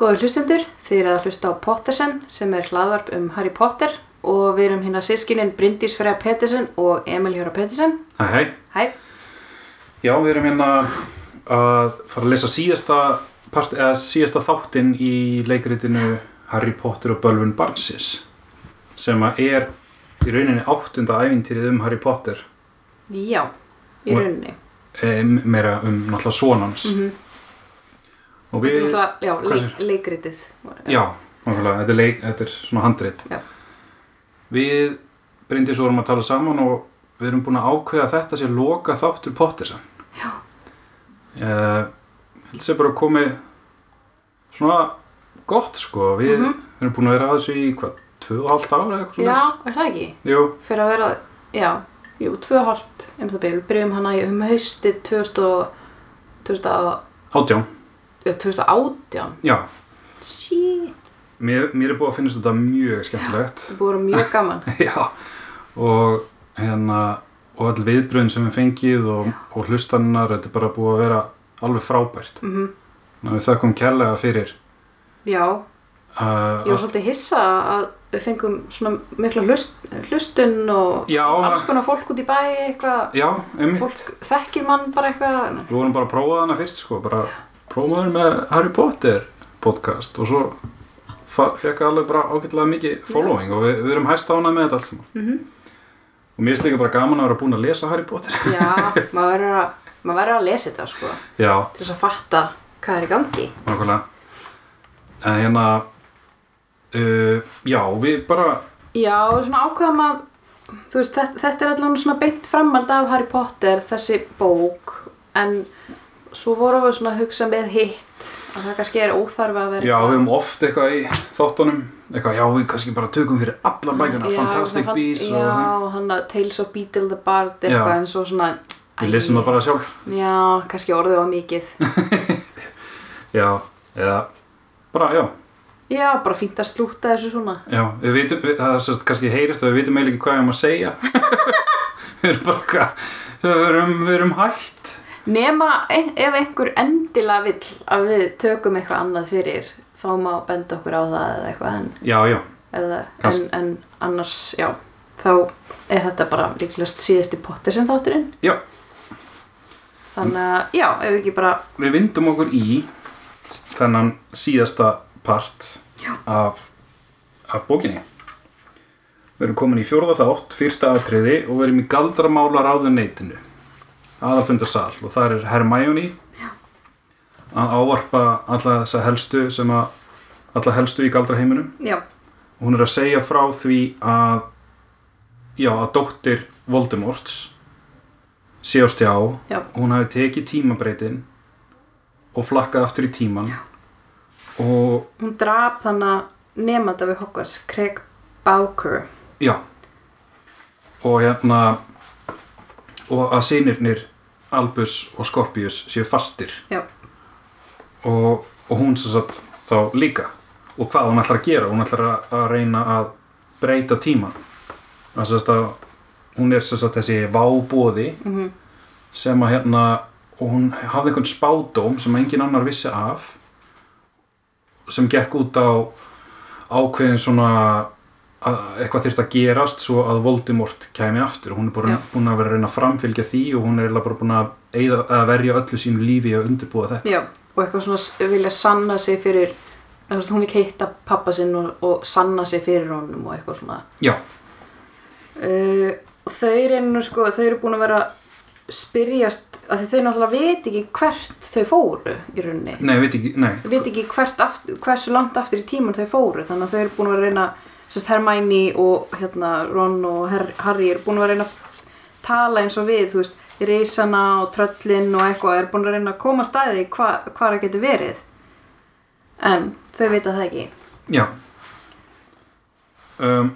Góður hlustendur, þið eru að hlusta á Pottersen sem er hlaðvarp um Harry Potter og við erum hérna sískinin Bryndís Freyja Pettersen og Emil Hjóra Pettersen. Hæ, hæ. Hæ, Já, við erum hérna að fara að lesa síðasta, part, eða, síðasta þáttinn í leikritinu Harry Potter og Bölvun Barnsins sem að er í rauninni áttunda ævintýrið um Harry Potter já, í Og- rauninni. e, meira um náttúrulega sonans mm -hmm. og Mhm. Þetta er við, náttúrulega, já, hvað leik, leikritið. já, náttúrulega þetta er, leik, þetta er svona handrit Já. við Bryndís vorum að tala saman og við erum búin að ákveða að þetta sé loka þáttur Pottersan Já. uh, held sér bara komið svona gott sko við Mhm. erum búin að vera að þessu í hvað, tvö og hálft ára eitthvað Já, svoleiðis? er það ekki? Jú, Fyrir að vera, já, jú, tvö og hálft um það byrjum. Við byrjum hana í um haustið 2000 og- 2000 og- átján, já, 2018. já Shit, mér, mér er búið að finnast þetta mjög skemmtilegt það búið að vera mjög gaman. já, og hérna og all viðbröðin sem við fengið og, og hlustannar, þetta er bara búið að vera alveg frábært Mm Ná, við þakkum kærlega fyrir Já, uh, Ég var svolítið hissa að við fengum svona mikla hlust, hlustun og Já. alls konar fólk út í bæi eitthvað, já, einmitt fólk þekkir mann bara eitthvað, Við vorum bara að prófa hana fyrst sko, bara prófaður með Harry Potter podcast og svo fekk alveg bara ágætlega mikið following og við, við erum hæst ánað með þetta allt saman. Mhm. Og mér er líka bara gaman að vera búin að lesa Harry Potter. já, maður verður að, maður verður að lesa þetta sko, Já, til þess að fatta hvað er í gangi. nákvæmlega. En hérna, uh, já, við bara, Já, og svona ákveðum að, þú veist, þetta, þetta er allavega svona beint framald af Harry Potter, þessi bók, en svo vorum við svona að hugsa með hitt, að það kannski er óþarfa að vera já, við höfum oft eitthvað í þáttunum, eitthvað, já, við kannski bara tökum fyrir alla bækana, Mm, Já, Fantastic svona fan- Beasts og það. Já, hann að Tales of Beetle the Bard eitthvað Já. en svo svona Við lesum það bara sjálf. Já, kannski orðið á mikið Já, eða, bara, já, Já, bara fínt að slúta þessu svona Já, við vitum, við, það er sérst kannski heyrist að við vitum eiginlega ekki hvað við erum að segja Við erum bara hvað, við erum, við erum hætt Nema ein, ef einhver endilega vill að við tökum eitthvað annað fyrir þá má benda okkur á það eða eitthvað en, Já, já, eða, en, Kannski. en annars, já þá er þetta bara líklegast síðasti potter sem þátturinn já, þannig að, já, ef ekki bara við vindum okkur í þennan síðasta part Já. af, af bókinni Við erum komin í fjórða þátt, fyrsta atriði og við erum í galdramála ráðuneytinu aðalfundarsal og þar er Hermione að ávarpa alla þessa helstu sem að alla helstu í galdraheiminum já, hún er að segja frá því að já, að dóttir Voldemorts sé á stjá Já. hún hafi tekið tímabreitin og flakkað aftur í tíman og hún drap þannig að nefnda við Hogwarts Craig Bowker já og hérna og að sinirnir Albus og Scorpius séu fastir já og, og hún sem sagt þá líka og hvað hún ætlar að gera, hún ætlar að, að reyna að breyta tíman að sem sagt að hún er sem sagt þessi vábóði Mhm. sem að hérna og hún hafði einhvern spádóm sem engin annar vissi af sem gekk út á ákveðin svona að eitthvað þyrft að gerast svo að Voldemort kæmi aftur hún er bara Já. búin að vera að reyna að framfylgja því og hún er eiginlega bara búin að, eyða, að verja öllu sínu lífi að undirbúa þetta Já, og eitthvað svona s- vilja sanna sig fyrir þú veist, hún vil hitta pappa sinn og, og sanna sig fyrir honum og eitthvað svona já, uh, og þau eru nú sko þau eru búin að vera spyrjast af því þau náttúrulega veit ekki hvert þau fóru í rauninni Nei, veit ekki, nei, þau veit ekki hvert aftur, hversu langt aftur í tíman þau fóru þannig að þau eru búin að vera að reyna sérst Hermæni og hérna Ron og Her Harry eru búin að vera að reyna að tala eins og við, þú veist, reysana og tröllin og eitthvað, eru búin að reyna að koma að staði hva, hvað það getur verið en þau vita það ekki já um,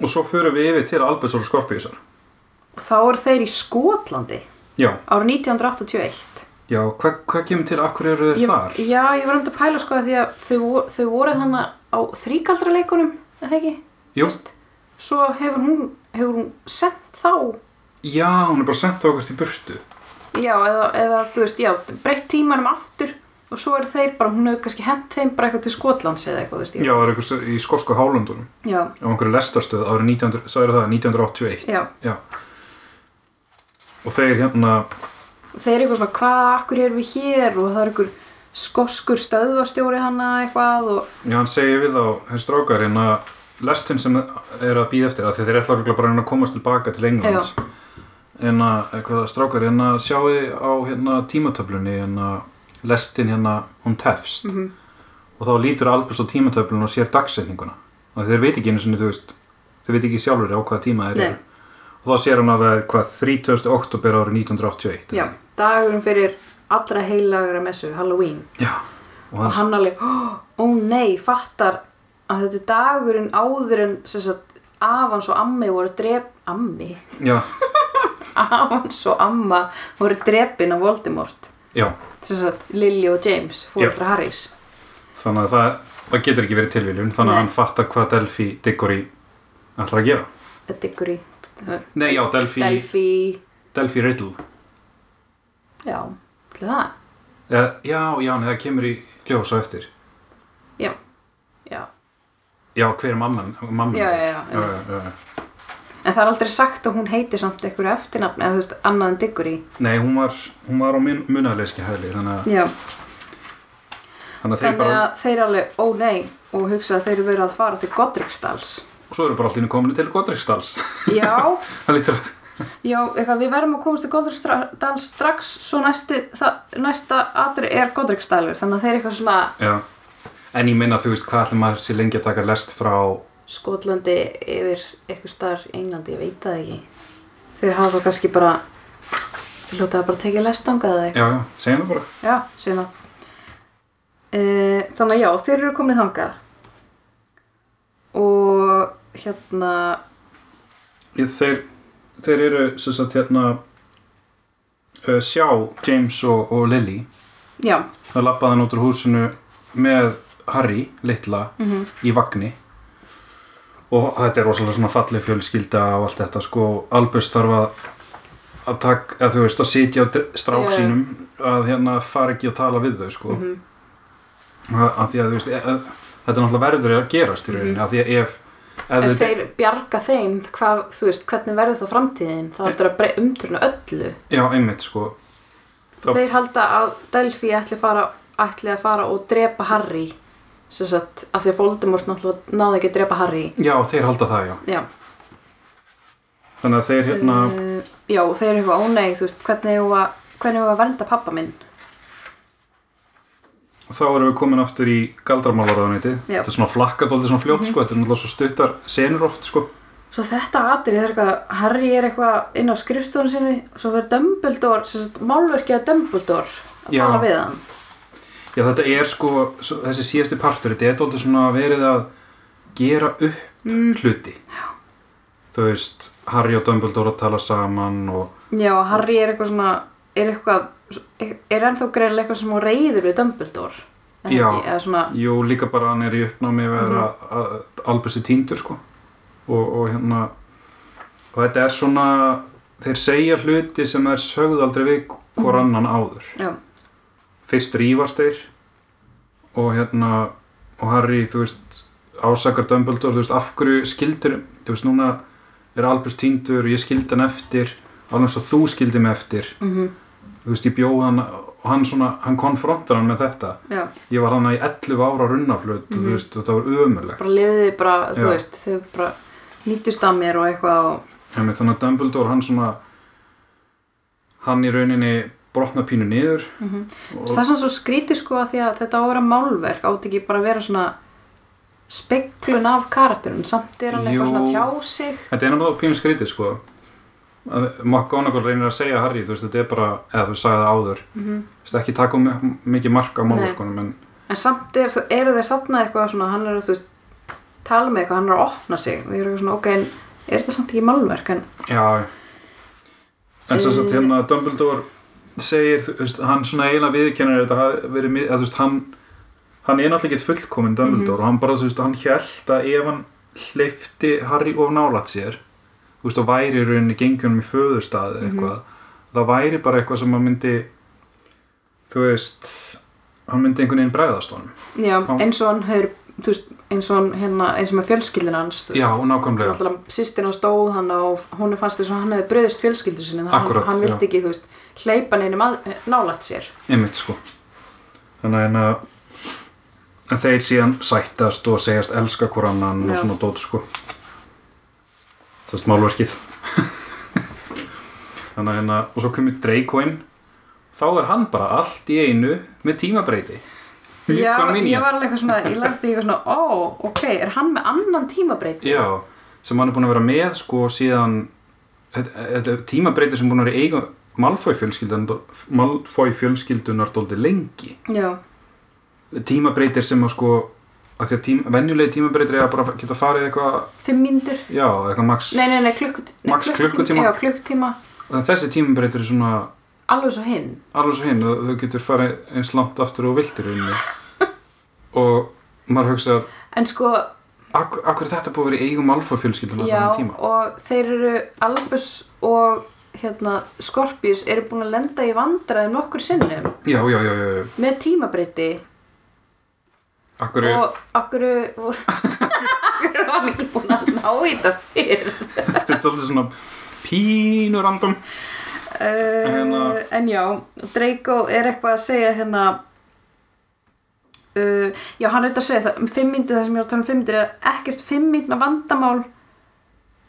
Og svo förum við yfir til Albusar og Skorpíusar og þá eru þeir í Skotlandi Já, árið 1981 já, hvað hva kemur til, akkur eru þeir ég, þar? Já, ég var um þetta að pæla sko því að þau, vo- þau voru þannig á þríkaldraleikunum, eða ekki? Jú. Veist? Svo hefur hún, hefur hún sent þá, Já, hún er bara sent á okkur til burtu já, eða, eða þú veist, já, breytt tímanum aftur og svo eru þeir bara, hún hefur kannski hent þeim bara eitthvað til Skotlands eða eitthvað, veist ég Já, það er einhver í skosku hálundunum já, á einhverju lestarstöð árið 1900, sagði það 1981 já. og þeir hérna Og þeir eru eitthvað svona, hvað, akkur erum við hér og það er einhver skoskur stöðvastjóri hana eitthvað og já, hann segir við þá, þeir strákar hérna lestin sem er að býða eftir af því þeir ætla örugglega bara að reyna að komast tilbaka til Englands en að eitthvað strákar hérna sjáði á hérna tímatöflunni hérna lestin hérna hún tefst Mhm. og þá lítur Albus á tímatöflun og sér dagsetninguna og þeir veit ekki einu sinni, þú veist þeir veit ekki sjálfur á hvaða tíma þeir Nei. eru og þá sér hann að það er hvað 30. oktober árið 1981 já, dagurinn fyrir allra heilagra messu, Halloween já. og og hann, hann alveg, ó ó nei, fattar að þetta er dagurinn áður en sem sagt, afans og ammi voru drep ammi, já, afans og amma voru drepin af Voldemort já sem sagt, Lily og James fóruðra Harrys þannig að það, það getur ekki verið tilviljun þannig að Nei. hann fattar hvað Delphi Diggory ætlar að gera eða Diggory nei já, Delphi, Delphi, Delphi, Riddle já, til það eh, já, já, nei, það kemur í ljós á eftir já, já já, hver er mamman, mamman Já, já, já, já, já, já. en það er aldrei sagt að hún heiti samt einhverju eftirnafni eða þú veist, annað en Diggory nei, hún var, hún var á mun, munarleiski hæli þannig að, já, þannig að þeir þannig bara að þeir alveg, ó nei og hugsa að þeir eru verið að fara til Godricstals svo eru bara allt í henni kominu til Godrikstals já það lítur að Já, eitthvað, við verðum að komast til Godriksdal strax svo næsti, það, næsta atri er Godriksdalur þannig að þeir eru eitthvað svona já. en ég minna, þú veist, hvað ætlum maður sér lengi að taka lest frá Skotlandi yfir eitthvað starf í Englandi, ég veit það ekki Þeir hafa þá kannski bara þeir hljótaði bara að tekið lestangað eða eitthvað já, já, segjum það bara Já, segjum það e, Þannig að já, þeir eru komin þangað og hérna Ég- þeir, þeir eru sem sagt hérna uh, sjá James og, og Lily já, það lappaði hann út úr húsinu með Harry, litla í vagni og þetta er rosalega svona falleg fjölskylda og allt þetta sko, Albus þarf að að takk, eða þú veist, að sitja á dr- Já, strák Mhm. já. sínum að hérna fara ekki að tala við þau sko að, að því að þú veist e, að, þetta er náttúrulega verður að gerast í rauninni, að því að ef Mhm. ef þeir bjarga þeim hvað, þú veist, hvernig verður þá framtíðin þá heldur að brey- umturna öllu já, einmitt sko Þá- Þeir halda að Delphi ætli, fara, ætli að fara og drepa Harry sem sagt, af því að Voldemort náttúrulega náði ekki að drepa Harry Já, þeir halda það, já. Já, Þannig að þeir hérna, Eh, já og þeir eru eitthvað ónei þú veist, hvernig hefur að, hvernig eigum við að vernda pappa minn þá erum við komin aftur í galdramálaráðuniti. Já. Þetta er svona flakkað alltaf svona fljótt, sko, þetta er náttúrulega svo stuttar senur oft, sko. Svo þetta atrið er eitthvað, Harry er eitthvað inn á skrifstofunum sinni svo verður Dumbledore, sem sagt, málverkið að Dumbledore að Já. tala við hann Já, þetta er sko, svo- þessi síðasti partur, þetta er alltaf svona verið að gera upp Mm, hluti. Já. Þú veist, Harry og Dumbledore að tala saman og, Já, og Harry er eitthvað svona er eitthvað, er ennþá greinlega eitthvað sem hún reyður við Dumbledore Er það Já. ekki? eða svona, jú, líka bara hann er í uppnámi að vera að albessi tíndur, sko. Og, og hérna, og þetta er svona, þeir segja hluti sem þeir sögðu aldrei við hvor annan áður. já, fyrst rífast þeir og hérna og Harry, þú veist, ásakar Dumbledore, þú veist, af hverju skildur þú veist, núna er Albus týndur ég skildi hann eftir, alveg svo þú skildi mig eftir, mm þú veist, ég bjóð hann og hann svona, hann konfrontar hann með þetta, já ég var hann í 11 ára runnaflut, mm þú veist, og það var ömurlegt bara lifiði bara, þú Já. veist, þau bara nýttust að mér og eitthvað og, Emi, þannig að Dumbledore, hann svona hann í rauninni brotna pínu niður og, það er svona svo skrítið sko að því að þetta á að vera málverk átt ekki bara að vera svona speklun af karakterun, samt er hann Jú. eitthvað svona að tjá sig Þetta er náttúrulega pínu skrítið sko að McGonagall reynir að segja Harry þú veist, þetta er bara, eða þú sagði það áður mm -hmm. ekki taka mi- mikið mark á málverkunum en en samt er, eru þeir þarna eitthvað svona, hann er að þú veist tala með eitthvað, hann er að opna sig og ég er eitthvað svona, ok, en er þetta samt ekki málverk en, já en sem sagt Eh. hérna Dumbledore segir, þú veist, hann svona eiginlega viðkennir þetta hafi verið, mi- eða þú veist, hann hann er náttúrulega ekki fullkominn Dumbledore og hann bara, þú veist, hann hjælt að ef hann hleyfti Harry of nálat sér þú veist, og væri í rauninni gengjunum í föðurstað eða eitthvað það væri bara eitthvað sem að myndi þú veist hann myndi einhvern veginn bregðast honum já, eins og hann hefur þú veist, eins og hann hérna, eins og með fjölskyldin hans þú veist. já, nákvæmlega alltaf sýstin á stóð hann á hún fannst þess að hann hefði bröðist fjölskyldu sinni þannig að Akkúrat, hann, hann vildi já. ekki, þú veist, hleypa neinum að, nálætt sér einmitt sko þannig að hérna, en þeir síðan sættast og segjast elska hvor annan og Já. svona dót sko þess málverkið þannig að hérna, og svo kemur Draco inn þá er hann bara allt í einu með tímabreyti já, Hvað meina ég var alveg eitthvað svona, ég las því eitthvað svona ó, ok, er hann með annan tímabreyt já, sem hann er búin að vera með sko síðan þetta- þetta er tímabreyti sem búin að vera í eigu Malfoy fjölskyldunar, Malfoy fjölskyldunar dóldi lengi já, tímabreytir sem að sko að því að tím, venjulegi tímabreytir er að bara geta farið eitthvað, fimm mínútur já, eitthvað max nei, nei, nei, klukkut, nei Max klukkutíma. já, klukkutíma, en þessi tímabreytir er svona alveg svo hinn alveg svo hinn, þau getur farið eins langt aftur og þú viltir um og maður hugsar en sko, akkur, akkur er þetta búið að vera í eigum alfa fjölskyldum já, þannig tíma og þeir eru Albus og hérna, Scorpius eru búin að lenda í vandræðum nokkur sinnum já, já, já, já, já, með tímabreyti akkur er og okkur voru okkur var hann ekki búin að ná í þetta fyrr þetta er alltaf svona pínu random uh, Hérna- en já, Draco er eitthvað að segja hérna uh, já, hann er þetta að segja það um fimmyndu, það sem ég var að tala um fimmyndu er að ekkert fimmyndna vandamál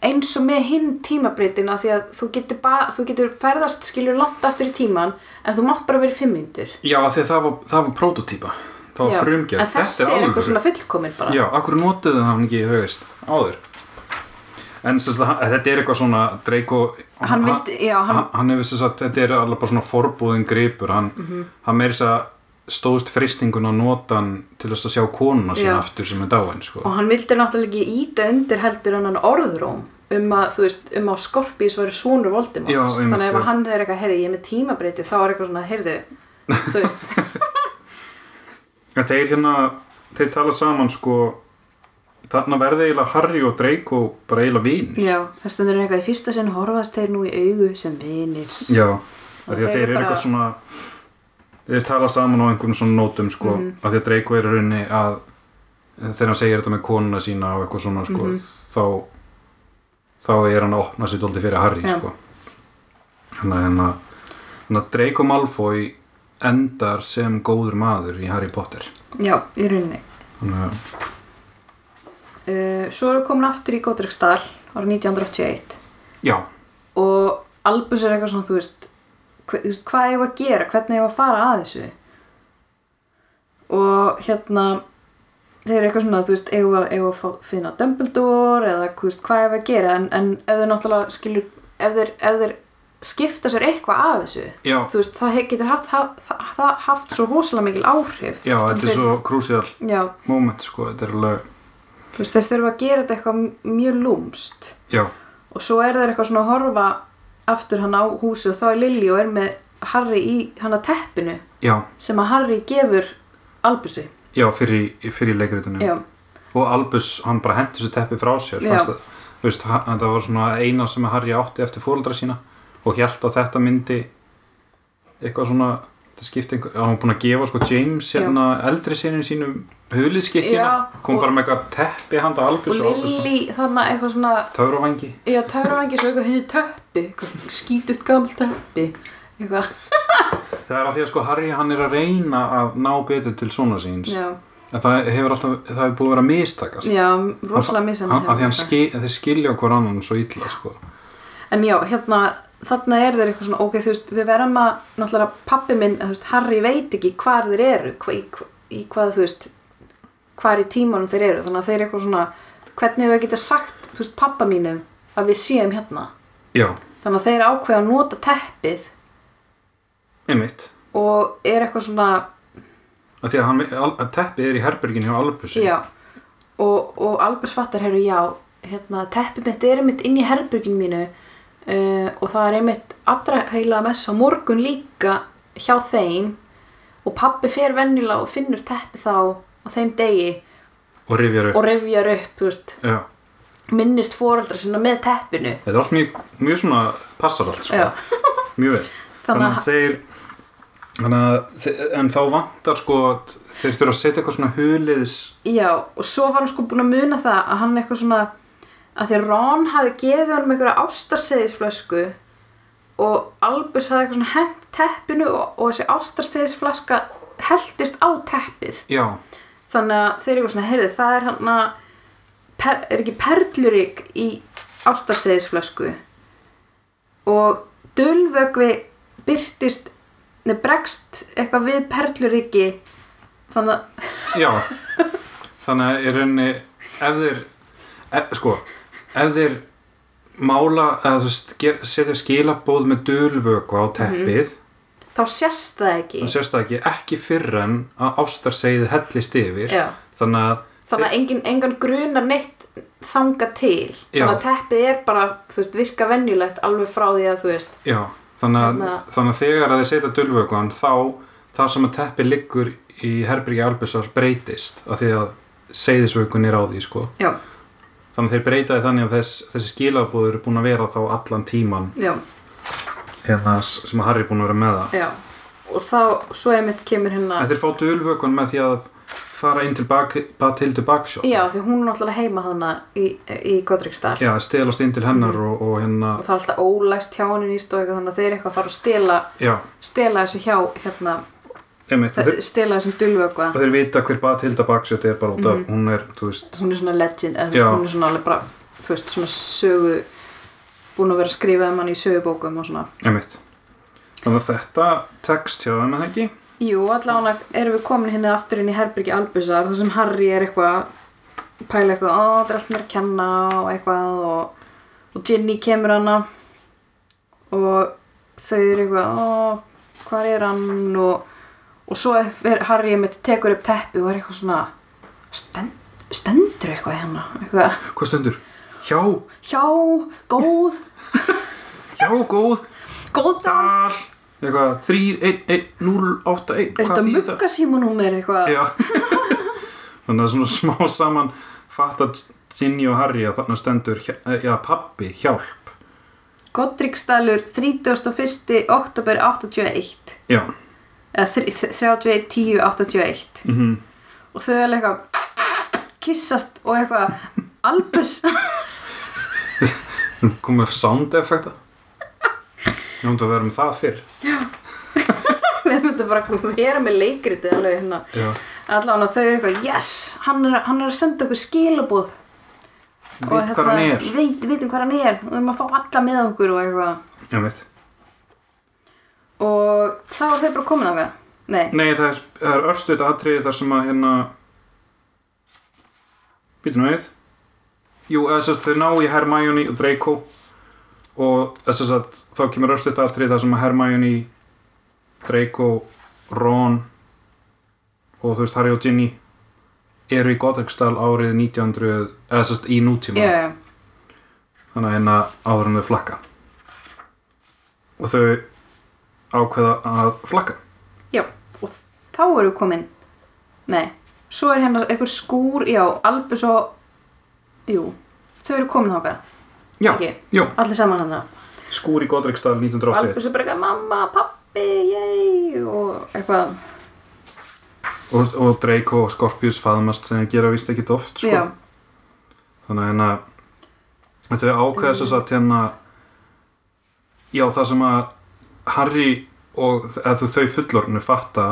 eins og með hinn tímabreytina því að þú getur, ba- þú getur ferðast skilur langt aftur í tíman en þú mátt bara verið fimmyndur já, af því að það var, það var prototýpa það var en frumgerð, þessi er eitthvað alvöru. svona fullkomin bara Já, akkur notuðu hann ekki, þú veist, áður En sem sagt, hann- þetta er eitthvað svona Draco Hann vildi- já, hann- hann, hann hefur sem sagt, þetta er alveg bara svona forbúðin gripur Hann, mm Mhm. -hmm. hann meiri þess að stóðst freystingun að nota hann til þess að sjá konuna Já. sína aftur sem er dáin, sko og hann vildi náttúrulega ekki íta undir heldur en hann orðróm um að, þú veist, um að Skorpís væri svonur Voldemort Já, einmitt, þannig að já. ef hann er eitthvað, heyrðu, ég er með tímabreyti þá er eitthvað svona, heyrðu, þú veist En þeir hérna, þeir tala saman, sko Þarna verði eiginlega Harry og Draco bara eiginlega vinir já, það stundur er eitthvað í fyrsta sinn horfast þeir nú í augu sem vinir Já, af því þeir að eru þeir eru bara- eitthvað svona þeir tala saman á einhvern svona nótum sko, Mhm. af því að Draco er í rauninni að þegar hann segir þetta með konuna sína og eitthvað svona Mhm. sko, þá þá er hann að opna sér dóldi fyrir Harry Já. sko þannig að- þannig að þannig að Draco Malfoy endar sem góður maður í Harry Potter já, í rauninni þannig að uh, svo er komin aftur í Godrekstall árið 1981 já, og Albus er eitthvað svona, þú veist hve- þú veist, hvað ég var að gera, hvernig ég var að fara að þessu og hérna þeir eru eitthvað svona, þú veist, eigum við að- eigum við að fá- finna Dumbledore eða þú veist, hvað ég var að gera en, en ef þeir náttúrulega skilur ef þeir, ef þeir skipta sér eitthvað að þessu Já. þú veist, það he- getur haft, haft, það, það haft svo rosalega mikil áhrif já, þetta er Þeir- svo crucial já, moment sko, þetta er alveg þú veist, þeir þurfa að gera þetta eitthvað mjög lúmst já, og svo er það eitthvað svona að horfa aftur hann á húsi og þá er Lilli og er með Harry í hann að teppinu já, sem að Harry gefur Albusi já fyrir, í- fyrir leikritunum já, og Albus, hann bara hendi þessu teppi frá sér Já. fannst það, þú veist, hann- það var svona eina sem Harry átti eftir fóreldra sína og held að þetta myndi eitthvað svona það skipti einhver, hann var búin að gefa sko James hérna eldri sinni sínum Já, huliskikkina, kom og- bara með eitthvað teppi handa og Albus og Albus bara, Lilli þarna eitthvað svona töfravangi já, töfravangi svo eitthvað hefði teppi eitthvað skítut gamalt teppi eitthvað, það er að því að sko Harry hann er að reyna að ná betur til svona síns já, en það hefur alltaf, það hefur búið að vera að mistakast já rosalega hérna. misan Hann- af því hann skil, þeir skilja okkur annan svo illa sko. En já, hérna, þarna er þeir eitthvað svona, ok, þú veist, við verðum að, náttúrulega, pappi minn, þú veist, Harry veit ekki hvar þeir eru, hva, í, hva- í hvað, þú veist, hvar í tímanum þeir eru, þannig að þeir eru eitthvað svona, hvernig hefur við geta sagt, þú veist, pappa mínum að við séum hérna. já, Þannig að þeir ákveða að nota teppið einmitt og er eitthvað svona, að því að, hann, að teppið er í herbergin hjá Albusi já, og, og Albus fattar, heyrðu, já, hérna, teppið mitt er einmitt inn í herberginu mínu uh, og það er einmitt allra heila messa á morgun líka hjá þeim og pabbi fer venjulega og finnur teppið þá á þeim degi og rifjar upp og rifjar upp, þú veist, já. minnist foreldra sinna með teppinu. þetta er allt mjög, mjög svona passar allt sko. Já, mjög vel Þannig að- þannig að þeir Þannig að, þe- en þá vantar sko að þeir þurfa að setja eitthvað svona huliðis Já, og svo var hann sko búin að muna það að hann eitthvað svona að því að Ron hafði gefið honum einhverja ástarseðisflösku og Albus hafði eitthvað svona hent teppinu og, og þessi ástarseðisflaska heldist á teppið Já, þannig að þeir eru eitthvað svona, heyrðu, það er hann að per, er ekki perlurík í ástarseðisflösku og dulvögvi byrtist nefn bregst eitthvað við perluríki þannig að já Þannig að í rauninni ef þeir, ef, sko ef þeir mála eða þú veist, ger- setja skilabóð með dulvöku á Mhm. teppið þá sérst það ekki það sést það ekki, ekki fyrr en að ástarsegið hellist yfir Já. þannig að þannig að engin, engan grunar neitt þanga til Já. þannig að teppið er bara þú veist, virka venjulegt alveg frá því að þú veist Já, þannig að, Þannig að- þannig að þegar að þeir setja dulvökuan þá það sem að teppi liggur í herbyrgi albusar breytist af því að seiðisvökun er á því sko. já, þannig að þeir breytaði þannig að þess, þessi skilabúður er búin að vera þá allan tíman já, hérna, s- sem að Harry er búin að vera með það já og þá svo einmitt kemur hérna en þeir fá dulvökuan með því að fara inn til bak, Batildu Bakshop já því hún er náttúrulega heima þarna í, í Godrikstall Já, stelast inn til hennar og, og hérna og það er alltaf ólæst hjá henni nýst og eitthvað þannig að þeir eru eitthvað að fara að stela, já, stela þessu hjá hérna, einmitt, og þeir, stela þessum dulvöku og þeir vita hver Batilda Bakshop er bara út af, hún er, þú veist hún er svona legend eða, þú Já. veist, hún er svona alveg bara þú veist, svona sögu búin að vera að skrifa um hann í sögubókum og svona Einmitt. Þannig að þetta text hjá þeim að ekki? Jú, allavega erum við komin hérna aftur inn í herbyrgi Albusar þar sem Harry er eitthvað að pæla eitthvað, ó, það er allt mér að kenna og eitthvað og, og Ginny kemur hana og þau eru eitthvað, ó, hvað er hann og, og svo er Harry einmitt tekur upp teppi og er eitthvað svona stend, stendur eitthvað hérna eitthvað, Hvað stendur? Hjá, hjá, góð, hjá, góð, góðan dal, eitthvað, 3, 1, 1, 0, 8, 1, er þetta muggasímanúmer eitthvað Já. Þannig að svona smá saman fatta Ginny og Harry að þarna stendur, hjá- eh, já, pappi, hjálp. Godrikstælur 31. oktober 81 Já, eða þr- þr- 31, 10, 81 mm og þau er alveg eitthvað kissast og eitthvað albus komið sound effekta. Nóndum að vera um það fyrr. við myndum bara að vera með leikriti alveg hérna Já. allan að þau eru eitthvað yes, hann er, hann er að senda okkur hérna, skilabúð Veit hvað hann er. veit, veitum hvað hann er og við erum að fá alla með okkur og eitthvað Já, veit. og þá er þau bara komin á hvað nei, Nei, það er, það er örstuðt atriði þar sem að hérna Býtum við Jú, eða sérst þau ná í Hermione og Draco og þess að þá kemur örstuðt atriði þar sem að Hermione Draco, Ron og þú veist Harry og Ginny eru í Godriksdal árið 1900 eða sérst í nútíma já, já, þannig að hérna áður en þau flakka og þau ákveða að flakka já og þá eru við komin nei, svo er hérna eitthvað skúr já, albus og jú, þau eru komin á hvað Já, Ekki? jú allir saman hann skúr í Godriksdal 1981 Albus er bara eitthvað mamma, pappi, yey og eitthvað og, og Draco og Scorpius faðmast sem þeir gera vist ekkit oft sko. já, þannig að hérna að þau ákveða þess að hérna já það sem að Harry og eða þau fullornu fatta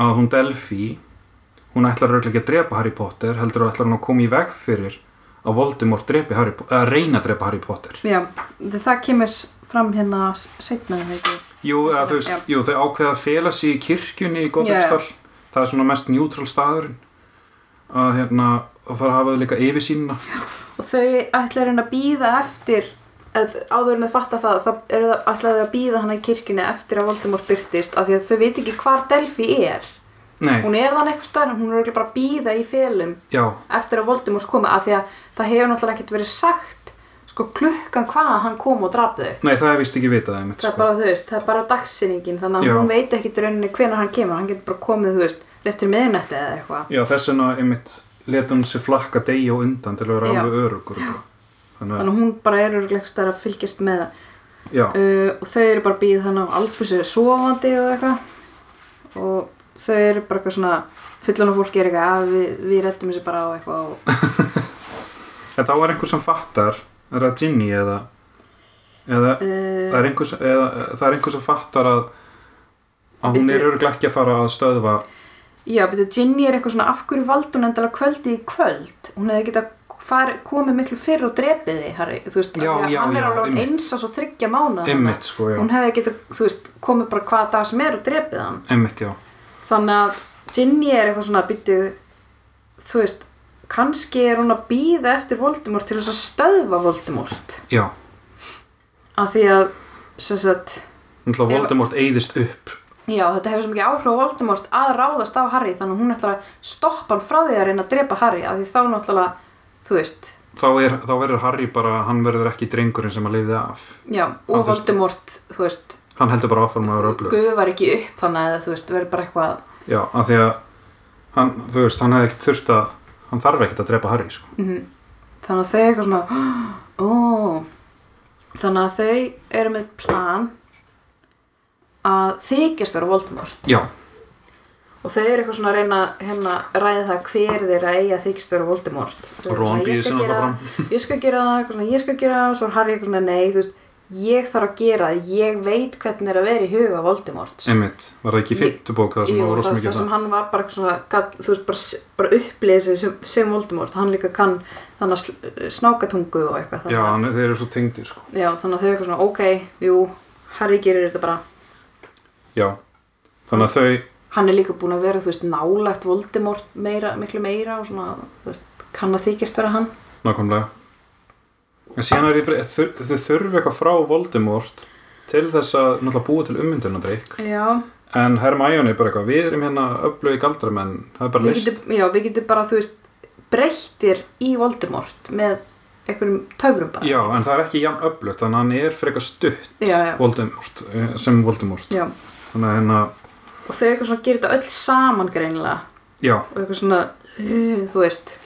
að hún Delphi hún ætlar auðvitað ekki að drepa Harry Potter heldur að ætlar hún að koma í veg fyrir að Voldemort drepi Harry Potter eða reyna að drepa Harry Potter já, það það kemur s- fram hérna setna já, Jú, eða, þú Já. veist, jú, þau ákveða að fela sig í kirkjunni í Godriksdal það er svona mest njútrál staðurinn að hérna og þar hafaðu líka yfirsýnina og þau ætlar hérna að býða eftir að áður en þau fatta það þá eru það ætlaði að býða hana í kirkjunni eftir að Voldemort byrtist af því að þau veit ekki hvar Delphi er Nei, hún er þannig eitthvað stærn, hún er örugglega bara að býða í felum já, eftir að Voldemort komi af því að það hefur náttúrulega ekkert verið sagt sko klukkan hvað hann kom og draf þau nei það er vist ekki vitað einmitt, það er sko. bara, þú veist, það er bara dagsinningin þannig að Já. hún veit ekki rauninni hvenær hann kemur hann getur bara komið, þú veist, réttur miðnætti eða eitthvað Já, þess vegna einmitt leta hún sér flakka degi og undan til að vera Já. alveg örugur bara. Þannig að, þannig að hún bara er örglegst að fylgjast með já, uh, og þau eru bara býð þannig á Albus er sofandi og eitthvað og þau eru bara eitthvað svona fullan og fólki er eitthvað að við, við rettum þessu bara á eitthvað og en þá er einhver sem fattar er það Ginny eða eða það uh, er einhver, sem- eða, það er einhver sem fattar að að hún er Bíddu. örglega ekki að fara að stöðva já, betur, Ginny er eitthvað svona af hverju vald hún endalega kvöldi í kvöld hún hefði getað far, komið miklu fyrr og drepið þig, Harry þú veist, Já, af því að já, hann er já, alveg einmitt. eins og svo þryggja mánuð einmitt sko, já, hún hefði getað, þú veist, komið bara hvaða dag sem er og drepið hann einmitt, já þannig að Ginny er eitthvað svona býttu þú veist, kannski er hún að býða eftir Voldemort til þess að stöðva Voldemort já, af því að sem sagt, náttúrulega Ef- Voldemort eyðist upp já, þetta hefur svo mikið áhrif á Voldemort að ráðast á Harry þannig að hún ætlar að stoppa hann frá því að reyna að drepa Harry af því þá náttúrulega, þú veist þá, er, þá verður Harry bara, hann verður ekki drengurinn sem að lifði af já, og Hann þú veist- Voldemort, þú veist hann heldur bara áfram að vera öflug gufar ekki upp þannig að þú veist, verður bara eitthvað já, af því að hann, þú veist, hann hefði ekki þurft að hann þarf ekkert að drepa Harry, sko þannig að þau eitthvað svona ó þannig að þau eru með plan að þykjast vera Voldemort já, og þau eru eitthvað svona að reyna hérna, ræða það hver þeirra eigi að þykjast vera Voldemort Þau eru Ron svona, ég býður skal sig náttúrulega gera- ég skal gera það, eitthvað svona, ég skal gera það og svo er Harry eitthvað svona nei, þú veist ég þarf að gera það, ég veit hvernig er að vera í huga Voldemorts einmitt, var það ekki Ég- fymtu bók það sem Jú, var rosa það, mikið það sem það hann var bara eitthvað svona gat, þú veist, bara, s- bara upplýði sig sem, sem Voldemort, hann líka kann þannig að sl- snákatungu og eitthvað þannig já, að- hann, þeir eru svo tengdir, sko Já, þannig að þau eitthvað svona, ok, jú, Harry gerir þetta bara. já, þannig að þau Hann er líka búin að vera, þú veist, nálægt Voldemort meira, miklu meira og svona, þú veist, kann að þykjast vera hann. Nákvæmlega En síðan er ég bara, þur, þau þurfi eitthvað frá Voldemort til þess að náttúrulega búa til ummyndunadrykk Já, en Hermione er bara eitthvað, við erum hérna öflögi galdramenn, það er bara við list getum, já, við getum bara, þú veist, breyttir í Voldemort með einhverjum töfrum bara. Já, en það er ekki jafn öflut þannig að hann er frekar stutt Já, já. Voldemort, eh, sem Voldemort Já, þannig að hérna, og þau eitthvað svona gerir þetta öll saman greinilega já, og eitthvað svona, uh, þú veist,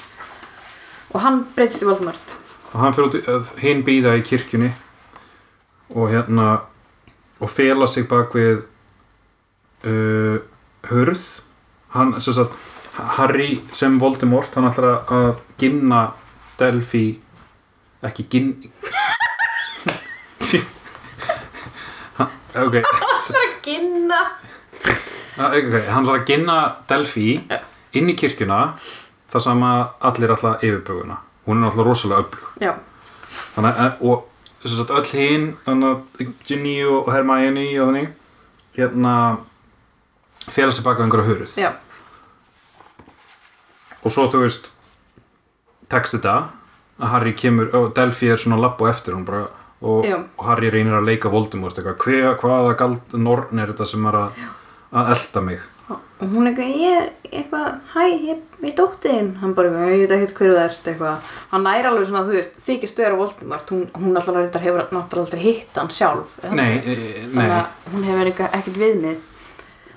og hann breytist í Voldemort. og hann fyrir út að hinn býða í kirkjunni og hérna og fela sig bak við uh, hurð hann, sem sagt Harry sem Voldemort, hann ætlar að ginna Delphi ekki ginn ok Það er að ginna. ok, hann ætlar að ginna Delphi inn í kirkjuna þar sem að allir ætla yfirböguna hún er náttúrulega rosalega öflug Já, þannig að eh, og sem sagt, öll hinn þannig að Ginny og Hermione og þannig hérna félags sig baka einhverja hurð já, og svo þú veist tekst þetta að Harry kemur og Delphi er svona lapp og eftir hún bara og, Já. og Harry reynir að leika Voldemort eitthvað, hver, hvaða gald norn er þetta sem er að, að elta mig og hún eitthvað, ég, eitthvað, hæ, ég, ég dótti þinn hann bara, eitthvað, ég veit ekkert hverju það ert eitthvað, hann næri alveg svona, þú veist þykist þau eru Voldemort, hún, hún alltaf reyndar hefur náttúrulega aldrei hitt hann sjálf eða? nei, eh, þannig nei, að hún hefur eitthvað, ekkert viðmið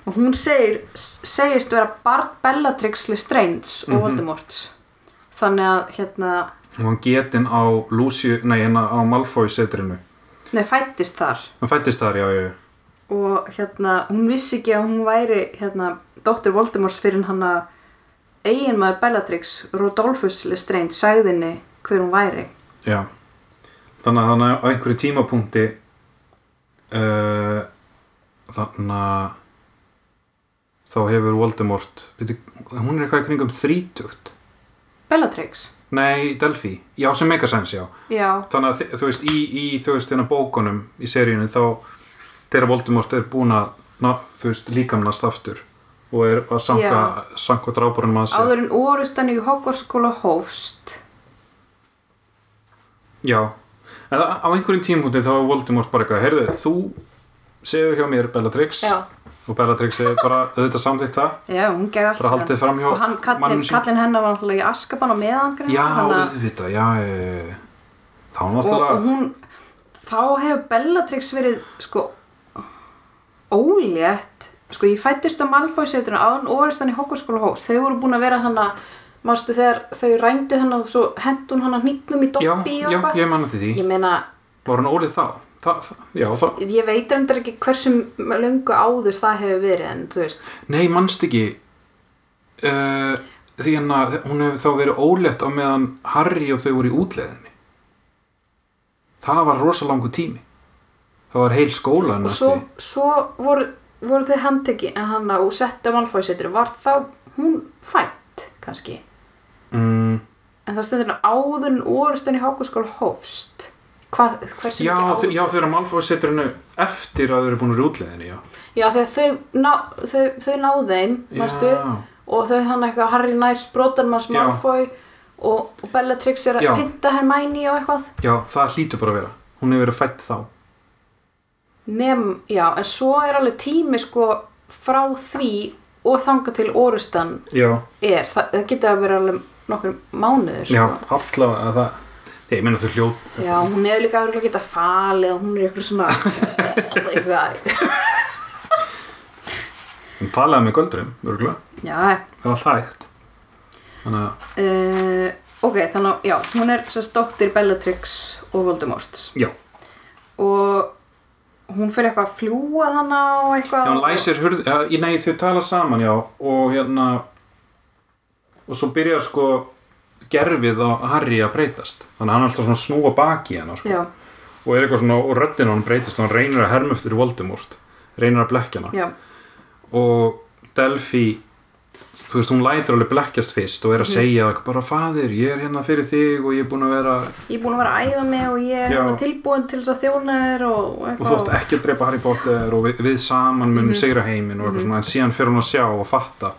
og hún segir s- segist vera barn Bellatrix Lestrange Mhm. og Voldemorts þannig að, hérna, og hann getinn á Lucy, nei, hérna á Malfoy setrinu, nei, fættist þar hann fættist þar, já, já, já og hérna, hún vissi ekki að hún væri hérna, dóttir Voldemorts fyrir hann að eiginmaður Bellatrix, Rodolphus Lestrange sagðinni hver hún væri Já Þannig að þannig að á einhverju tímapunkti uh, Þannig að Þá hefur Voldemort byrju, Hún er eitthvað í kringum 30 Bellatrix? Nei, Delphi Já, sem megasens, já Já, Þannig að þi- þú veist, í, í þú veist, hérna bókunum Í seríunni þá Þegar Voldemort er búin að ná, Þú veist, líkamnast aftur Og er að sanka, sanka drábúrunum að sér áður en orustan í Hogwarts skóla hófst Já, en á á einhverjum tímpunkti þá er Voldemort bara eitthvað, heyrðu, þú segir hjá mér Bellatrix Já. og Bellatrix segir bara auðvitað samþýtt það Já, hún gerði allt hérna. bara haldið fram hjá Og hann, kallin, kallin hennar var alltaf í Askaban á meðan greinilega, Já, þannig að- auðvitað, já, já, já, já. þá og, náttúrulega og hún þá hefur Bellatrix verið sko ólétt sko ég fættist á Malfoy setrinu án orðistan í Hogwartsskóla hós þau voru búin að vera hann að mástu þegar þau rændu hann og svo hendu hann að hnýtnum í Já, doppi og já, eitthvað ég manna til því ég meina Var hann ólið þá? Þa, það, já, það, Ég veit endur ekki hversu löngu áður það hefur verið en þú veist nei, mannst ekki uh, því hann að hún hefur þá verið ólétt á meðan Harry og þau voru í útleðinni það var rosa langu tími það var heil skóla og svo, svo voru, voru þau handteki en hann á setta málfæðsetri var þá hún fætt kannski mm, en það stundur áður en orustan í hákuskóla hófst Hvað, hversu já, mikið þau- áður já, þau eru að Malfoy setur hennu eftir að þau eru búin úr útleðinni já. já þegar þau, ná, þau, þau náðu þeim manstu, Já. og þau hann eitthvað Harry nær sprótanmanns Já. málfæð og, og Bellatrix er að Já. pynta Hermæni og eitthvað já, það hlýtur bara að vera hún hefur verið fætt þá Nem, já, en svo er alveg tími sko frá því og þanga til orustan já, er, það, það getur að vera alveg nokkur mánuður já sko. allavega það Ég meina þau hljóð, já. hún hefur líka að geta falið og hún er eitthvað svona eitthvað, hún talaði með göldrum, örgulega, já það er allt hægt. Þannig að, uh, ok, þannig að já, hún er sérst dóttir Bellatrix og Voldemorts já, og hún fyrir eitthvað að fljúa þannig og Já, eitthvað hann læsir hurð, já, ég nei þau tala saman já og hérna og svo byrjar sko gerfið á Harry að breytast þannig að hann er alltaf svona að snúa baki í hana sko. já, og er eitthvað svona, og röddin á hann breytist og hann reynir að herma eftir Voldemort reynir að blekkja hana já, og Delphi þú veist, hún lætur alveg blekkjast fyrst og er að segja bara fadir, ég er hérna fyrir þig og ég er búin að vera ég er búin að vera að æfa mig og ég er Já. hérna tilbúin til þess að þjóna þér og, og þú átt ekki að drepa Harry Potter og við, við saman munum sigra heiminn og eitthvað svona en síðan fyrir hún að sjá og fatta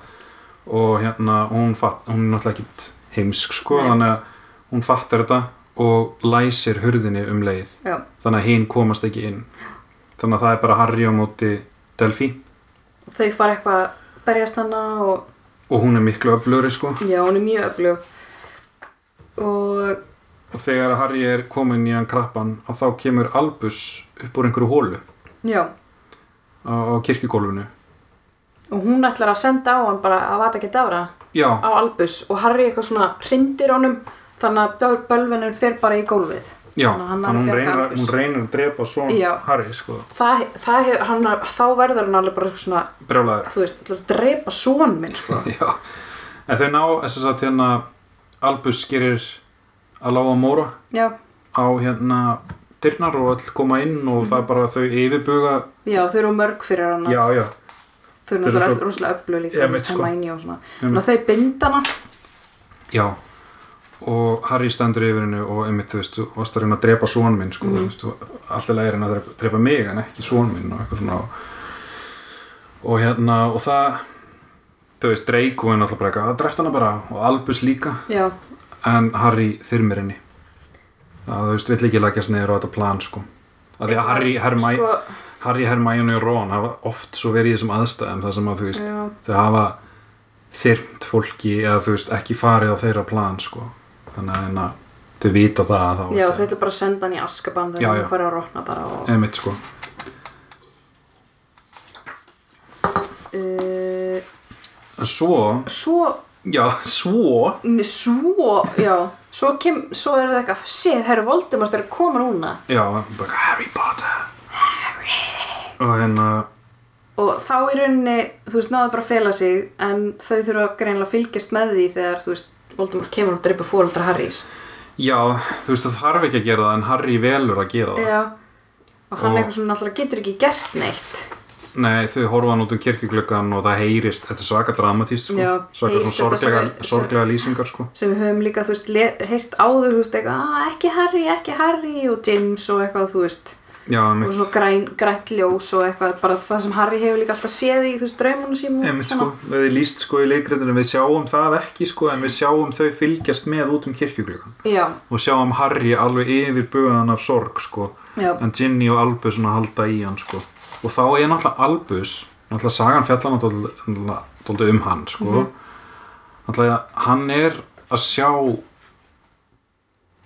og hérna og hún, fatt, hún er náttúrulega ekkit heimsk sko Nei. þannig að hún fattar þetta og læsir hurðinni um leið já, þannig að hinn komast ekki inn þannig að það er bara Harry á móti Delphi þau fara eitthvað að berjast hana og og hún er miklu öflugri sko já, hún er mjög öflug og og þegar að Harry er komin í hann krappan að þá kemur Albus upp úr einhverju hólu já, á, á kirkjugólfinu og hún ætlar að senda á hann bara að vata ekki dafra já, á Albus og Harry eitthvað svona hrindir honum þannig að bölvinun fer bara í gólfið já Þannig að hann er að þannig að hún bjarga reynir, að- Albus. hún reynir að drepa svo Já. Harry sko það, það hefur, hann, þá verður hann alveg bara svona, brjálæður þú veist, ætlar að drepa son minn, sko Já, en þau ná þess að hérna Albus gerir að lága móra já, á hérna dyrnar og öll koma inn og Mhm. það er bara að þau yfirbuga já, þau eru mörg fyrir hann Já, já, þau eru þau eru náttúrulega svo- öll rosalega öflug líka þú Ég veit, veist, sko. Hermione og svona veit. þannig að þau binda hana já og Harry stendur yfir hennu og einmitt, þú veist, þú varst að reyna að drepa són minn sko, mm. þú veist, alltaf lægir henn að drepa, drepa mig en ekki són minn og eitthvað svona og, og hérna, og það þú veist, Draco er náttúrulega bara eitthvað, það dreft hana bara og Albus líka já, en Harry þyrmir henni það þú veist, vill ekki lækjast niður á þetta plan sko að því að Harry, Hermæ, sko, Harry, Hermæjun og Ron hafa oft svo verið í þessum aðstæðum þar sem að þú veist, Já. þau hafa þyrmt fólki eða þú veist ekki farið á þeirra plan sko þannig að hérna, þau vita það að þá já, þau ætlar bara að senda hann í askaban Já, þegar já. hann fara að rotna bara og emitt sko uh, en svo, svo já, svo n- svo, já svo, kem, svo er það eitthvað, shit, herru Voldemort er að koma núna já, bara Harry Potter Harry og hérna, og þá í rauninni, þú veist, náðu bara að fela sig en þau þurfa greinlega að fylgjast með því þegar, þú veist, Voldemort kemur og dreipa fóröldra Harrys já, þú veist það þarf ekki að gera það en Harry velur að gera það já, og hann Og- eitthvað svona alltaf getur ekki gert neitt Nei, þau horfa hann út um kirkjuglöggan og það heyrist, þetta er svaka dramatíst sko. Já, svaka svona heyrist þetta sorglega, sem- sorglega lýsingar sko. sem við höfum líka, þú veist, le- heyrt áður þú veist, eitthvað, "Ah, ekki Harry, ekki Harry og James og eitthvað, þú veist Já, og einmitt, svo græn, grænt ljós og eitthvað bara það sem Harry hefur líka alltaf séð í þú veist draumunum sínum og einmitt sko, svona. við líst sko í leikritinu, við sjáum það ekki sko, en við sjáum þau fylgjast með út um kirkjuglöggan já, og sjáum Harry alveg yfir bugaðan af sorg sko, Já. en Ginny og Albus svona halda í hann sko, og þá er náttúrulega Albus, náttúrulega sagan fjallan náttúrulega dálítið um hann sko, Mhm. náttúrulega hann er að sjá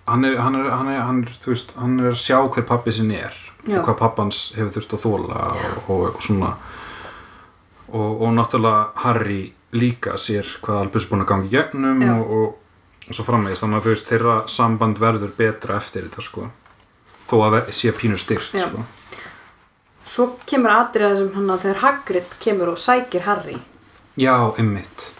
hann er, hann er, hann er, hann er, þú veist, hann er að sjá hver pappi sinni er Já. og hvað pappans hefur þurft að þóla og, og svona og, og náttúrulega Harry líka sér hvað Albus búin að gangi gegnum Já. og, og, og svo framvegis þannig að þú veist þeirra samband verður betra eftir þetta sko þó að ver- sé pínur styrt Já. sko. Svo kemur atriða sem hann að þegar Hagrid kemur og sækir Harry. já, einmitt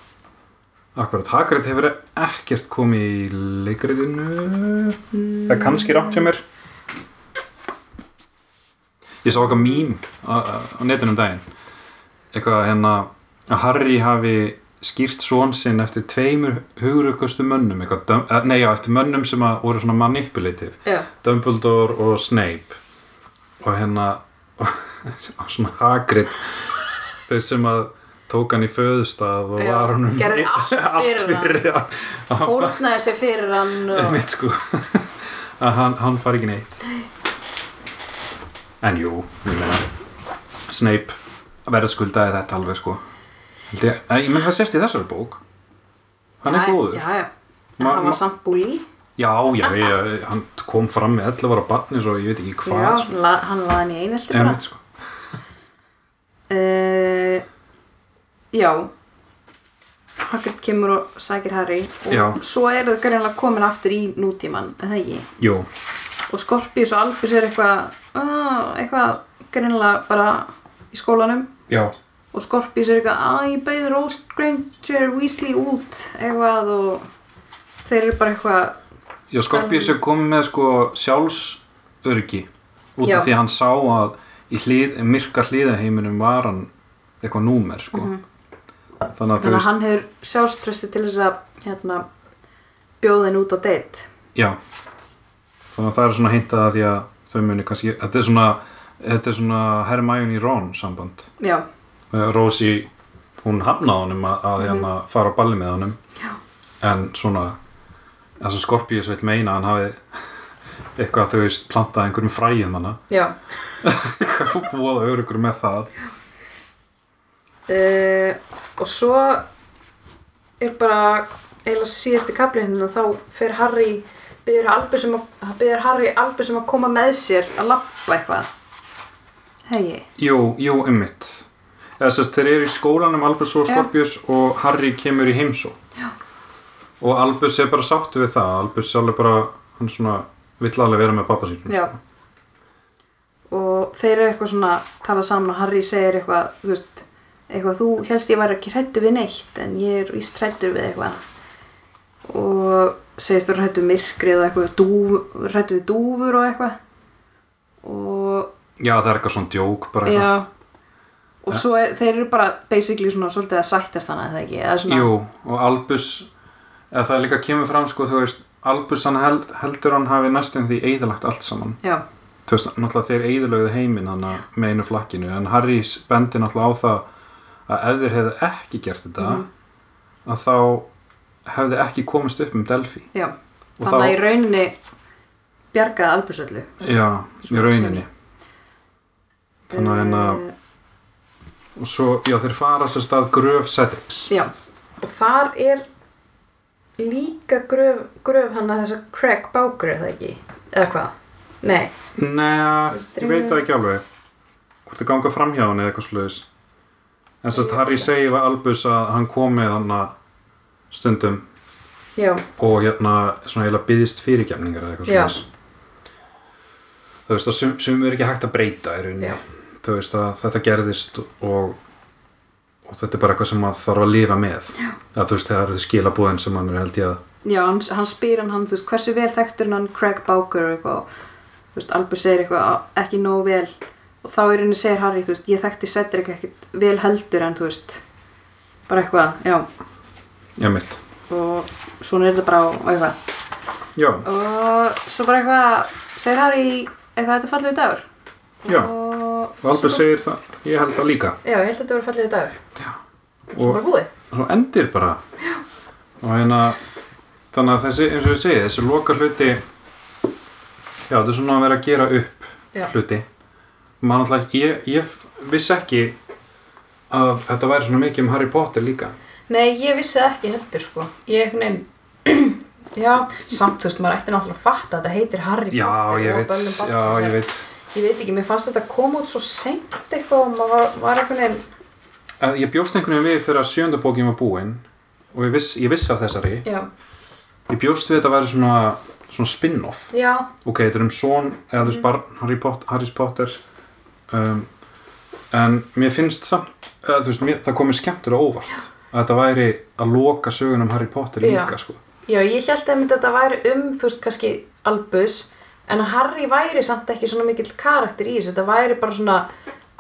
akkurat, Hagrid hefur ekkert komið í leikriðinu það er kannski rámt hjá mér ég sá eitthvað mím á, á netinu um daginn eitthvað hérna að Harry hafi skýrt svon sinn eftir tveimur hugrökkustu mönnum eitthvað, dum- eh, nei já, eftir mönnum sem að voru svona manipulative Já. Dumbledore og Snape og hérna og svona Hagrid þau sem að tók hann í föðustað og Já, var hann gerði allt fyrir hann. hann, hann Hórnaði sér fyrir hann og... mitt sko að hann, hann fari ekki neitt en jú, ég meina Snape verðskuldaði þetta alveg sko Held ég, eh, ég meina það sést í þessari bók hann er Já, góður Já, já. En Ma- hann ma- var samt búli. já, já, ég, hann kom fram með 11 ára barni svo ég veit ekki hvað Já, sko. hann la- hann laði hann í einhelti En bara. mitt, sko. Uh, já Hagrid kemur og sækir Harry og Já. svo eru þau greinlega komin aftur í nútíman en það ekki jú, og Skorpíus og Albus er eitthvað uh, eitthvað greinlega bara í skólanum já, og Skorpíus er eitthvað að ég bauði Rose Granger Weasley út eitthvað og þeir eru bara eitthvað já Skorpíus er komið með sko sjálfsörgi út Já. af því að hann sá að í hlið, myrka hliðaheiminum var hann eitthvað númer sko þannig að Mhm. þú þannig að veist, hann hefur sjáströsti til þess að hérna, bjóða henni út á date já þannig að það er svona hintað að því að þau muni kannski, þetta er svona þetta er svona Hermione Ron samband já, Eh, Rosie, hún hafnaði honum að, að hérna fara á balli með honum Mhm. já, en svona þess að Skorpíus veit meina að hann hafi eitthvað þú veist plantað einhverjum fræjum hana já. og búið örugur með það uh, og svo er bara eiginlega síðasti kafli hérna þá fer Harry byður Albus um að, byður Harry Albus um að koma með sér að lappa eitthvað hegi jú, jú, ymmit eða sérst þeir eru í skólanum Albus og Já. Skorpíus og Harry kemur í heimsó Já. og Albus er bara sáttu við það Albus er alveg bara, hann svona vill alveg vera með pappa sínum já sko. og þeir eru eitthvað svona tala saman og Harry segir eitthvað þú veist, eitthvað þú helst ég væri ekki hrættu við neitt en ég er víst hrættur við eitthvað og segist þú hrættu myrkrið og eitthvað dúf, hrættu við dúfur og eitthvað og Já, það er eitthvað svona djók bara eitthvað. Já Og svo er, þeir eru bara basically svona svolítið að sættast hana eða ekki eða svona, Jú, og Albus eða það líka kemur fram sko, þú veist Albus hann held, heldur hann hafi næstum því eðalagt allt saman Já, þú veist, náttúrulega þeir eðalögðu heiminn hann með einu flakkinu, en Harry bendi náttúrulega á það að ef þeir hefðu ekki gert þetta Mhm. Mm, að þá hefði ekki komist upp um Delphi já Og Þannig að þá- í rauninni bjargaði albusöllu já, í Svona rauninni sem- þannig að hérna Eh, og svo, já, þeir fara sér stað gröf Cedrics Já, og þar er líka gröf, gröf hann að þessa Craig Bákur eða ekki eða hvað? Nei, Nei, Þetta ég er- veit það ekki alveg hvort það ganga framhjá hann eða eitthvað sluðis en sérst Harry segir við Albus að hann komi þannig stundum já, og hérna svona heila byðist fyrirgefningar eða eitthvað Já. sluðis þú veist að sum, sum er ekki hægt að breyta í rauninni Já. þú veist að þetta gerðist og, og þetta er bara eitthvað sem maður þarf að lifa með Já. að þú veist það eru skilabúðin sem hann er held ég að já hann, hann spyr hann, hann þú veist, hversu vel þekktur hann Craig Bákur eitthvað og, þú veist, Albus segir eitthvað ekki nógu vel og þá í rauninni segir Harry, þú veist, ég þekkti Cedric ekkert vel heldur en þú veist bara eitthvað, já Já, mitt. og svona er þetta bara og og eitthvað Já, og svo bara eitthvað segir Harry eitthvað þetta er fallegu dagur já. og Og Albus segir það, ég held það líka já, ég held að þetta voru fallegu dagur og bara búið svo endir bara og hérna þannig að þessi, eins og ég segi, þessi loka hluti já, þetta er svona að vera að gera upp Já. hluti maður alltaf, ég, ég vissi ekki að þetta væri svona mikið um Harry Potter líka nei, ég vissi það ekki heldur sko ég einhvern veginn já, samt þú veist, maður ætti náttúrulega að fatta að þetta heitir Harry já, Potter ég og veit, Böllum já, Babbsins ég er- veit ég veit ekki, mér fannst þetta koma út svo seint eitthvað og maður var, var einhvern veginn Eh, ég bjóst einhvern veginn við þegar sjöndabókin var búin og ég, viss, ég vissi af þessari já, ég bjóst við að þetta væri svona svona spin-off já, ok, þetta er um son eða Mm. þú veist barn Harry, Pot Harry Potter um, en mér finnst samt eða, þú veist, mér, það komið skemmtilega óvart að þetta væri að loka sögun um Harry Potter Já. líka sko. já, ég held einmitt að þetta væri um, þú veist, kannski Albus, en að Harry væri samt ekki svona mikill karakter í þessu, þetta væri bara svona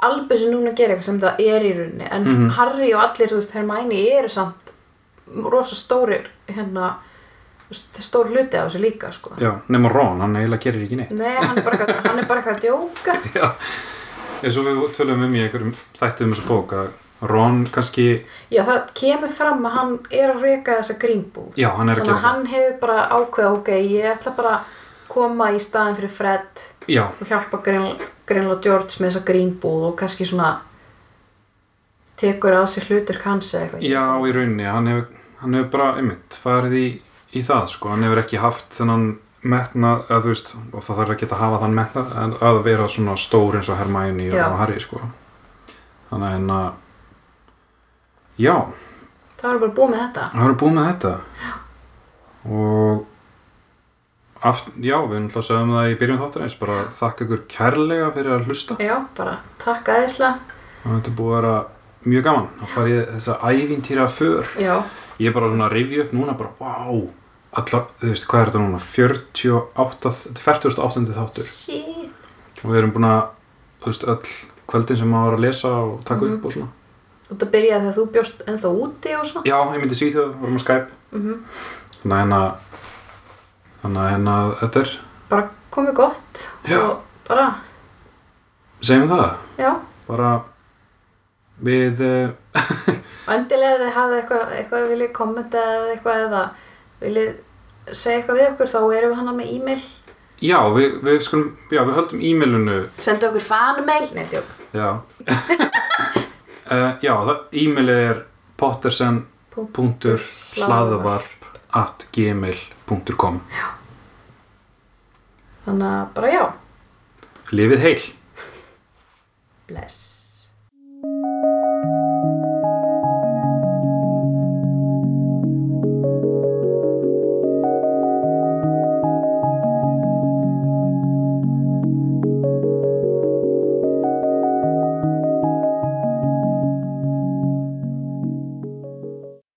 Albus er núna að gera eitthvað sem það er í rauninni, en Mhm. Harry og allir, þú veist, Hermæni eru samt rosa stórir, hérna, þú veist, stór hluti af þessu líka, sko. já, nema Ron, hann eiginlega gerir ekki neitt Nei, hann er bara eitthvað, hann er bara eitthvað að djóka. já, eins og við tölum um í einhverjum þættum þessu bók að Ron kannski, Já, það kemur fram að hann er að reka þessa grínbúð. já, hann er að Þannig gera að hann hefur bara ákveða, ok, ég ætla bara að koma í staðin fyrir Fred það já, og hjálpa Grin- Greinlega George með þessa grínbúð og kannski svona tekur að sér hlutur kanns eða eitthvað. Já, í rauninni, hann hefur, hann hefur bara einmitt farið í, í það, sko, hann hefur ekki haft þennan metna, eða þú veist, og það þarf ekki að hafa þann metna, en að vera svona stór eins og Hermæni Já. og Harry, sko. Þannig að, hérna, já, Það var bara búið með þetta. það eru búið með þetta. Og, aft, já, við náttúrulega sögum um það í byrjun þáttarins, bara þakka ykkur kærlega fyrir að hlusta. Já, bara takk aðeinslega. Og þetta er búið að vera mjög gaman, að fara í þessa ævintýra för. Já, Ég er bara svona að rifja upp núna bara, wow, allar, þú veist, hvað er þetta núna, 48, þetta er 48. þáttur shit. og við erum búin að, þú veist, öll kvöldin sem maður var að lesa og taka upp og svona. Og það byrjaði þegar þú bjóst ennþá úti og svona. Já, ég myndi Svíþjóð, vorum að Skype, Mhm. þannig að hérna, þannig að hérna, þetta er, Bara komið gott Já. og bara, segjum við það, já. bara, við, eh, Og endilega ef þið hafið eitthvað, eitthvað viljið kommenta eða eitthvað eða viljið segja eitthvað við okkur þá erum við hana með e-mail. já, við, við skulum, já, við höldum e-mailinu Senda okkur fan-mail. Nei, djók. Já uh, Já, það e-mailið er pottersen.hlaðvarp.gmail.com Þannig að bara já. Lifið heil! Bless.